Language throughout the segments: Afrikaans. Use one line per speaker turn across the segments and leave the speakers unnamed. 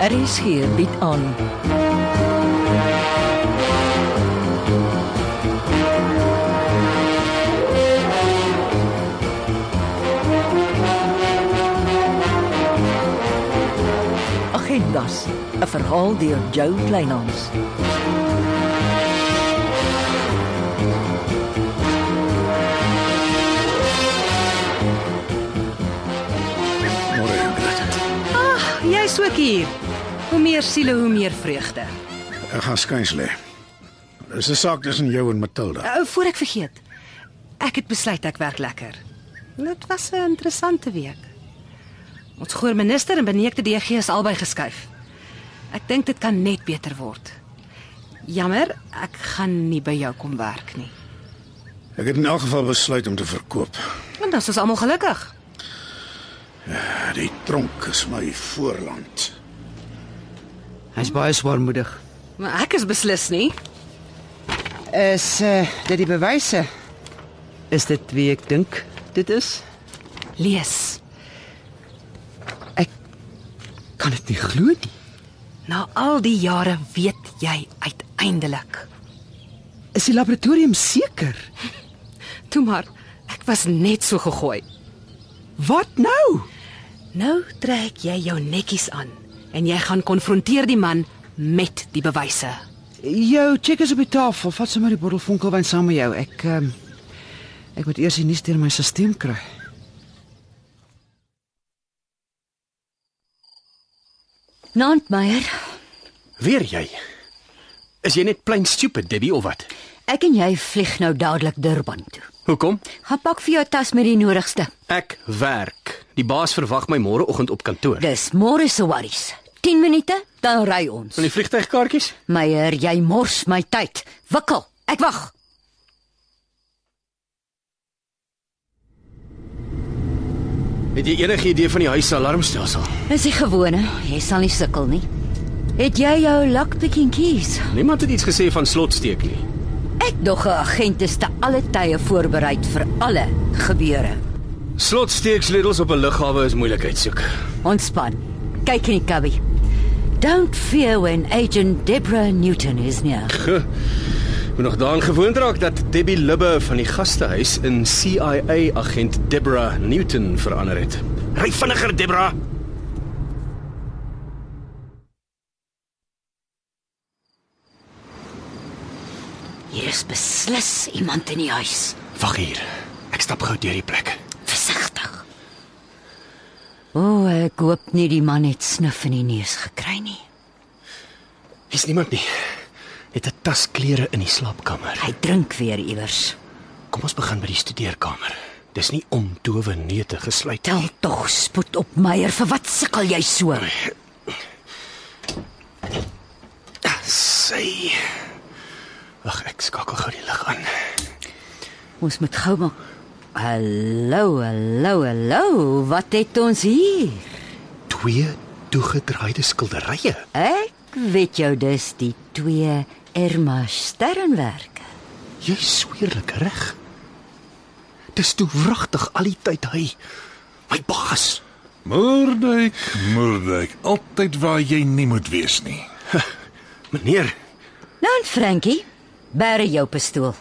RSG bied aan. Agendas, 'n verhaal deur Jo Kleinhans.
Môre Ingrid.
Jy's ook hier. Hoe meer siele, hoe meer vreugde.
Ek gaan skuins lê. Dis 'n saak tussen jou en Matilda.
Uh, voor ek vergeet. Ek het besluit ek werk lekker. Dit was 'n interessante week. Ons goeieminister en beneekte DG is albei geskuif. Ek dink dit kan net beter word. Jammer, ek gaan nie by jou kom werk nie.
Ek het in elk geval besluit om te verkoop.
En dan is ons almal gelukkig.
Die tronk is my voorland.
Hy's baie swaarmoedig.
Maar ek is beslis nie.
Is eh uh, dit die bewyse? Is dit wie ek dink dit is?
Lees.
Kan dit nie glo nie.
Na al die jare weet jy uiteindelik.
Is die laboratorium seker?
Toe maar, ek was net so gegooi.
Wat nou?
Nou trek jy jou netjies aan en jy gaan konfronteer die man met die bewyse.
Jou check is op die tafel. Vat sommer die bottel vonkelwyn saam met jou. Ek ehm ek moet eers die nuus deur my stelsel kry.
Nant Meyer,
Weer jy? Is jy net plain stupid, Debbie of wat?
ek en jy vlieg nou dadelik Durban toe.
Hoekom?
Gaan pak vir jou tas met die nodigste.
Ek werk. Die baas verwag my môreoggend op kantoor.
Dis môre se worries. 10 minute, dan ry ons.
Van die vliegtygkaartjies?
Meyer, jy mors my tyd. Wikkel, ek wag.
Het jy enige idee van die huis se alarmstelsel?
Dis die gewone, jy sal nie sukkel nie. Het jy jou lockpicking keys?
Niemand het iets gesê van slotsteek nie.
Ek dog 'n agent is te alle tye voorberei vir alle gebeure.
Slotsteeksledels op 'n lughawe is moeilikheid soek.
Ontspan. Kyk in die kabbie. Don't fear when agent Deborah Newton is near.
Moet nog daaraan gewoond raak dat Debbie Libbe van die gastehuis in CIA agent Deborah Newton verander het. Ry vinniger, Deborah.
Hier is beslis iemand in die huis.
Wag hier. Ek stap gou deur die plek.
Versigtig. O, oh, ek hoop nie die man het snuf in die neus gekry nie.
Hier's niemand nie. Het 'n tas klere in die slaapkamer.
Hy drink weer iewers.
Kom ons begin by die studeerkamer. Dis nie om towe neute gesluit
Tel tog spoed op, Meyer, vir wat sukkel jy so?
Sy. Ag, ek skakel gou die lig aan.
Ons moet gou maak. Hallo, hallo, hallo. Wat het ons hier?
Twee toegedraaide skilderye.
Ek weet jou dis die twee Irma Sternwerke.
Jy sweerlik reg. Dis toe wragtig al die tyd hy. My baas.
Moordwyk, Moordwyk, altyd waar jy nie moet wees nie.
Meneer,
Nou, en Frankie, bære jou pistool.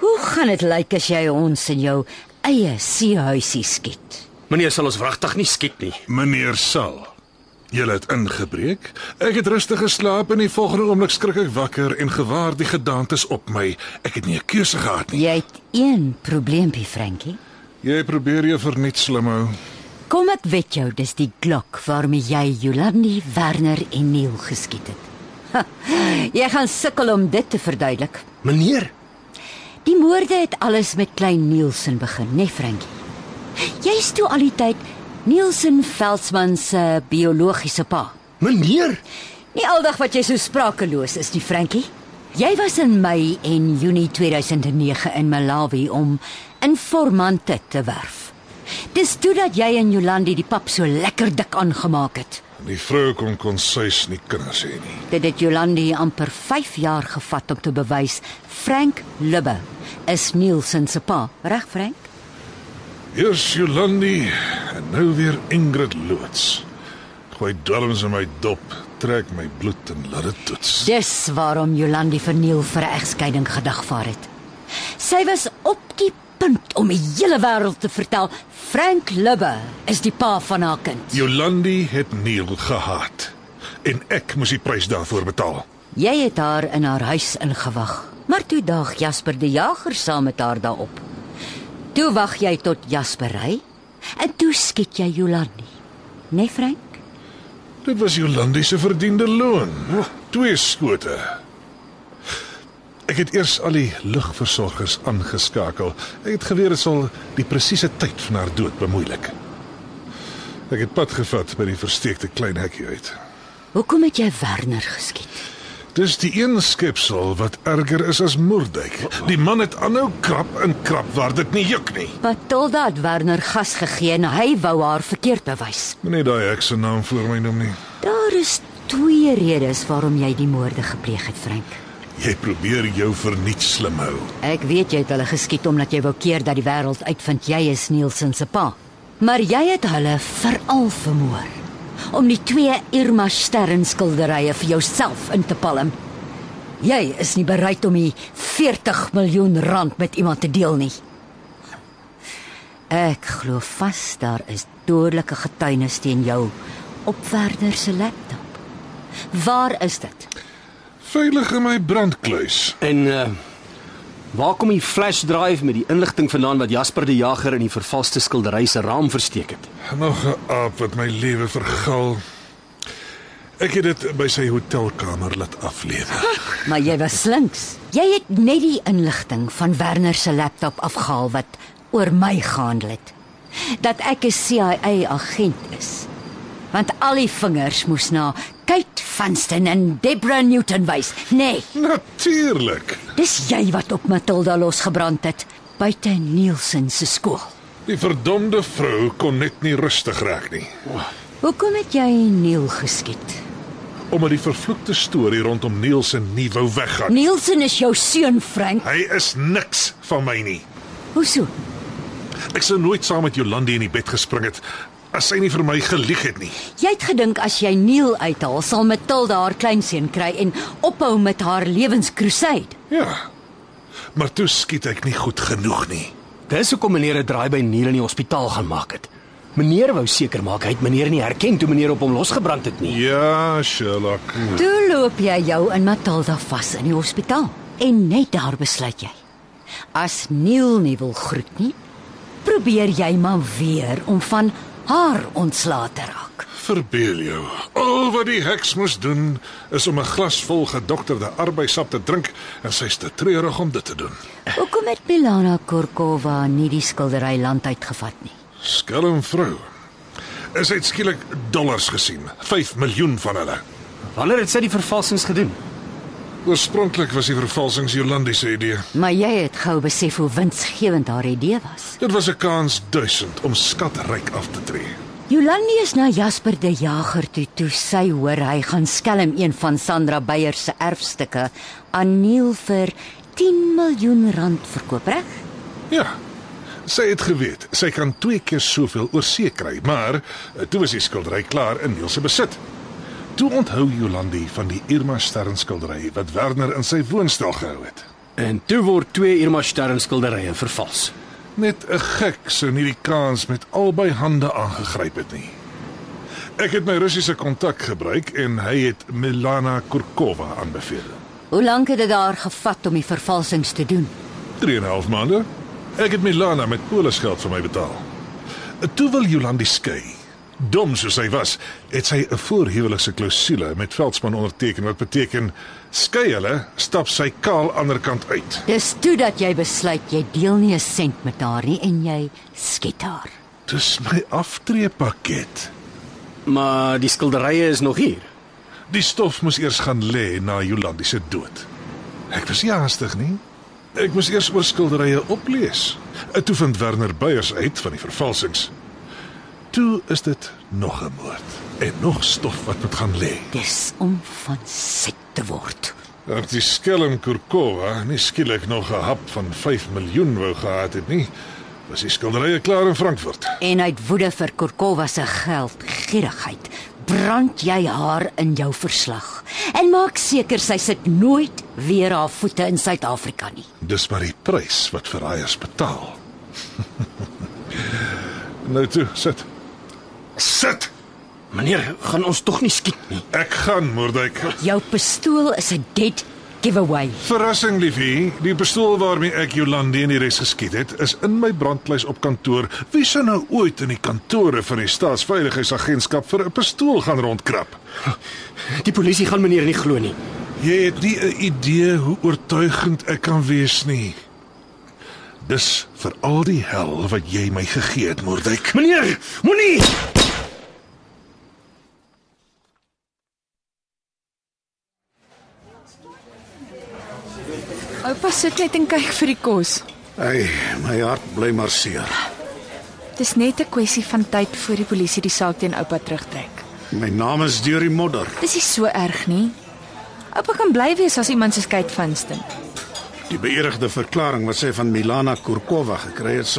Hoe gaan dit lyk as jy ons in jou eie seehuisie skiet?
meneer sal ons wragtig nie skiet nie.
Meneer Sal, jy het ingebreek. Ek het rustig geslaap en die volgende oomblik skrik ek wakker en gewaar die gedaantes op my. Ek het nie 'n keuse gehad nie.
Jy het een probleempie, Frankie.
Jy probeer jou verniet slimhou.
Kom ek weet jou, dis die Glock waarmee jy Jolandi, Werner en Neil geskiet het. Ha, jy gaan sukkel om dit te verduidelik.
Meneer,
Die moorde het alles met klein Nielsen begin, né, nee, Frankie? Jy's toe al die tyd Nielsen Veldsmann se biologiese pa.
meneer,
Nie aldag wat jy so sprakeloos is nie, Frankie. Jy was in Mei en Junie 2009 in Malawi om informante te werf. Dis toe dat jy en Jolandi die pap so lekker dik aangemaak het.
Die vrou kon konsuis nie kinders hê nie.
Dit het Jolandi amper 5 jaar gevat om te bewys Frank Lubbe is Nielsen se pa. Reg, Frank?
Eers Jolandi en nou weer Ingrid Loots. My darmes en my dop trek my bloed en laat dit toets.
Dis waarom Jolandi verniel vir 'n egskeiding gedagvaar het. Sy was op die punt om die hele wêreld te vertel Frank Lubbe is die pa van haar kind.
Jolandi het Neil gehaat en ek moes die prys daarvoor betaal.
Jy het haar in haar huis ingewag, maar toe daag Jasper die Jager saam met haar daarop. Toe wag jy tot Jasper ry en toe skiet jy Jolandi. Nee Frank?
Dit was Jolandi se verdiende loon. Twee skote. Ek het eers al die lugversorgers aangeskakel. Ek het geweet dit sal die presiese tyd van haar dood bemoeilik. Ek het pad gevat by die versteekte klein hekkie uit.
Hoekom het jy Werner geskiet?
Dis die een skepsel wat erger is as Moerdijk. Die man het aanhou krap en krap waar dit nie juk nie.
Matilda het Werner gas gegee en hy wou haar verkeerd bewys.
Moenie daai hek se naam voor my noem nie.
Daar is twee redes waarom jy die moorde gepleeg het, Frank.
Jy probeer jou verniet slim hou.
Ek weet jy het hulle geskiet omdat jy wou keer dat die wêreld uitvind jy is Nielsen se pa. Maar jy het hulle veral vermoor om die twee Irma Stern skilderye vir jouself in te palm. Jy is nie bereid om die 40 miljoen rand met iemand te deel nie. Ek glo vas daar is dodelike getuienis teen jou op Werner se laptop. Waar is dit?
Veilig in my brandkluis.
En uh waar kom die flash drive met die inligting vandaan wat Jasper die Jager in die vervalste skildery se raam versteek het?
Nog 'n aap wat my lewe vergal. Ek het dit by sy hotelkamer laat aflewer.
Maar jy was slinks. Jy het net die inligting van Werner se laptop afgehaal wat oor my gehandel het. Dat ek 'n CIA agent is. Want al die vingers moes na Kate Vanston en Deborah Newton wys. Nee,
Natuurlik.
dis jy wat op Matilda losgebrand het buite Nielsen se skool.
Die verdomde vrou kon net nie rustig raak nie.
Hoekom het jy Neil geskiet?
Omdat die vervloekte storie rondom Nielsen nie wou weggaan.
Nielsen is jou seun, Frank.
Hy is niks van my nie.
Hoeso?
Ek sou nooit saam met Jolandi in die bed gespring het as sy nie vir my gelieg het nie.
Jy het gedink as jy Neil uithaal, sal Matilda haar kleinseun kry en ophou met haar lewenskruisyd.
Ja. Maar toe skiet ek nie goed genoeg nie.
Dis hoekom meneer 'n draai by Neil in die hospitaal gaan maak het. Meneer wou seker maak hy het meneer nie herken toe meneer op hom losgebrand het nie.
Ja, Sherlock.
Toe loop jy jou in Matilda vas in die hospitaal en net daar besluit jy. As Neil nie wil groet nie, probeer jy maar weer om van haar ontslae te raak.
Verbeel jou, al wat die heks moes doen is om 'n glas vol gedokterde arbeidsap te drink en sy's te treurig om dit te doen.
Hoekom het Milana Korkova nie die skildery land uitgevat nie?
Skelm vrou. Is hy skielik dollars gesien? 5 miljoen van hulle.
Wanneer het sy die vervalsings gedoen?
Oorspronklik was die vervalsings Jolandi se idee.
Maar jy het gou besef hoe winsgewend haar idee was.
Dit was 'n kans duisend om skatryk af te tree.
Jolandi is na Jasper die Jager toe toe sy hoor hy gaan skelm een van Sandra Beyer se erfstukke aan Neil vir 10 miljoen rand verkoop, reg?
Ja. Sy het geweet sy kan twee keer soveel oor see kry, maar eh, toe was die skildery klaar in Neil se besit. Toe onthou Jolandi van die Irma Stern skildery wat Werner in sy woonstel gehou het.
En toe word twee Irma Stern skilderye vervals.
Net 'n gek sou nie die kans met albei hande aangegryp het nie. Ek het my Russiese kontak gebruik en hy het Milana Kurkova aanbeveel.
Hoe lank het dit daar gevat om die vervalsings te doen?
3 en 'n half maande. Ek het Milana met polisgeld vir my betaal. Toe wil Jolandi skei. Dom soos sy was, het sy 'n voorhuwelikse klousule met Veldsmann onderteken wat beteken skei hulle, stap sy kaal ander kant uit.
Dis toe dat jy besluit jy deel nie 'n sent met haar nie en jy skiet haar.
Dis my aftreepakket.
Maar die skilderye is nog hier.
Die stof moes eers gaan lê na Jolandi se dood. Ek was nie haastig nie. Ek moes eers oor skilderye oplees. Ek toe vind Werner Beyers uit van die vervalsings. Toe is dit nog 'n moord en nog stof wat moet gaan lê.
Dis om van siek te word.
Dat die skelm Kurkova nie skielik nog 'n hap van 5 miljoen wou gehad het nie, was die skilderye klaar in Frankfurt.
En uit woede vir Korkova se geld gierigheid brand jy haar in jou verslag en maak seker sy sit nooit weer haar voete in Suid-Afrika nie.
Dis maar die prys wat verraaiers betaal. nou toe, sit. Sit.
Meneer, gaan ons tog nie skiet nie.
Ek gaan, Moordwyk.
Jou pistool is 'n dead giveaway.
Verrassing, liefie. Die pistool waarmee ek Jolande en die res geskiet het, is in my brandlys op kantoor. Wie sou nou ooit in die kantore van die Staatsveiligheidsagentskap vir 'n pistool gaan rondkrap?
Die polisie gaan meneer nie glo nie.
Jy het nie 'n idee hoe oortuigend ek kan wees nie. Dis vir al die hel wat jy my gegee het, Moordwyk.
Meneer, moenie.
Oupa sit net en kyk vir die kos.
Hey, my hart bly maar seer.
Dis net 'n kwessie van tyd voor die polisie die saak teen oupa terugtrek.
My naam is deur die modder.
Dis nie so erg nie. Oupa kan bly wees as iemand se skei van stem.
Die beëdigde verklaring wat sy van Milana Kurkova gekry het, sal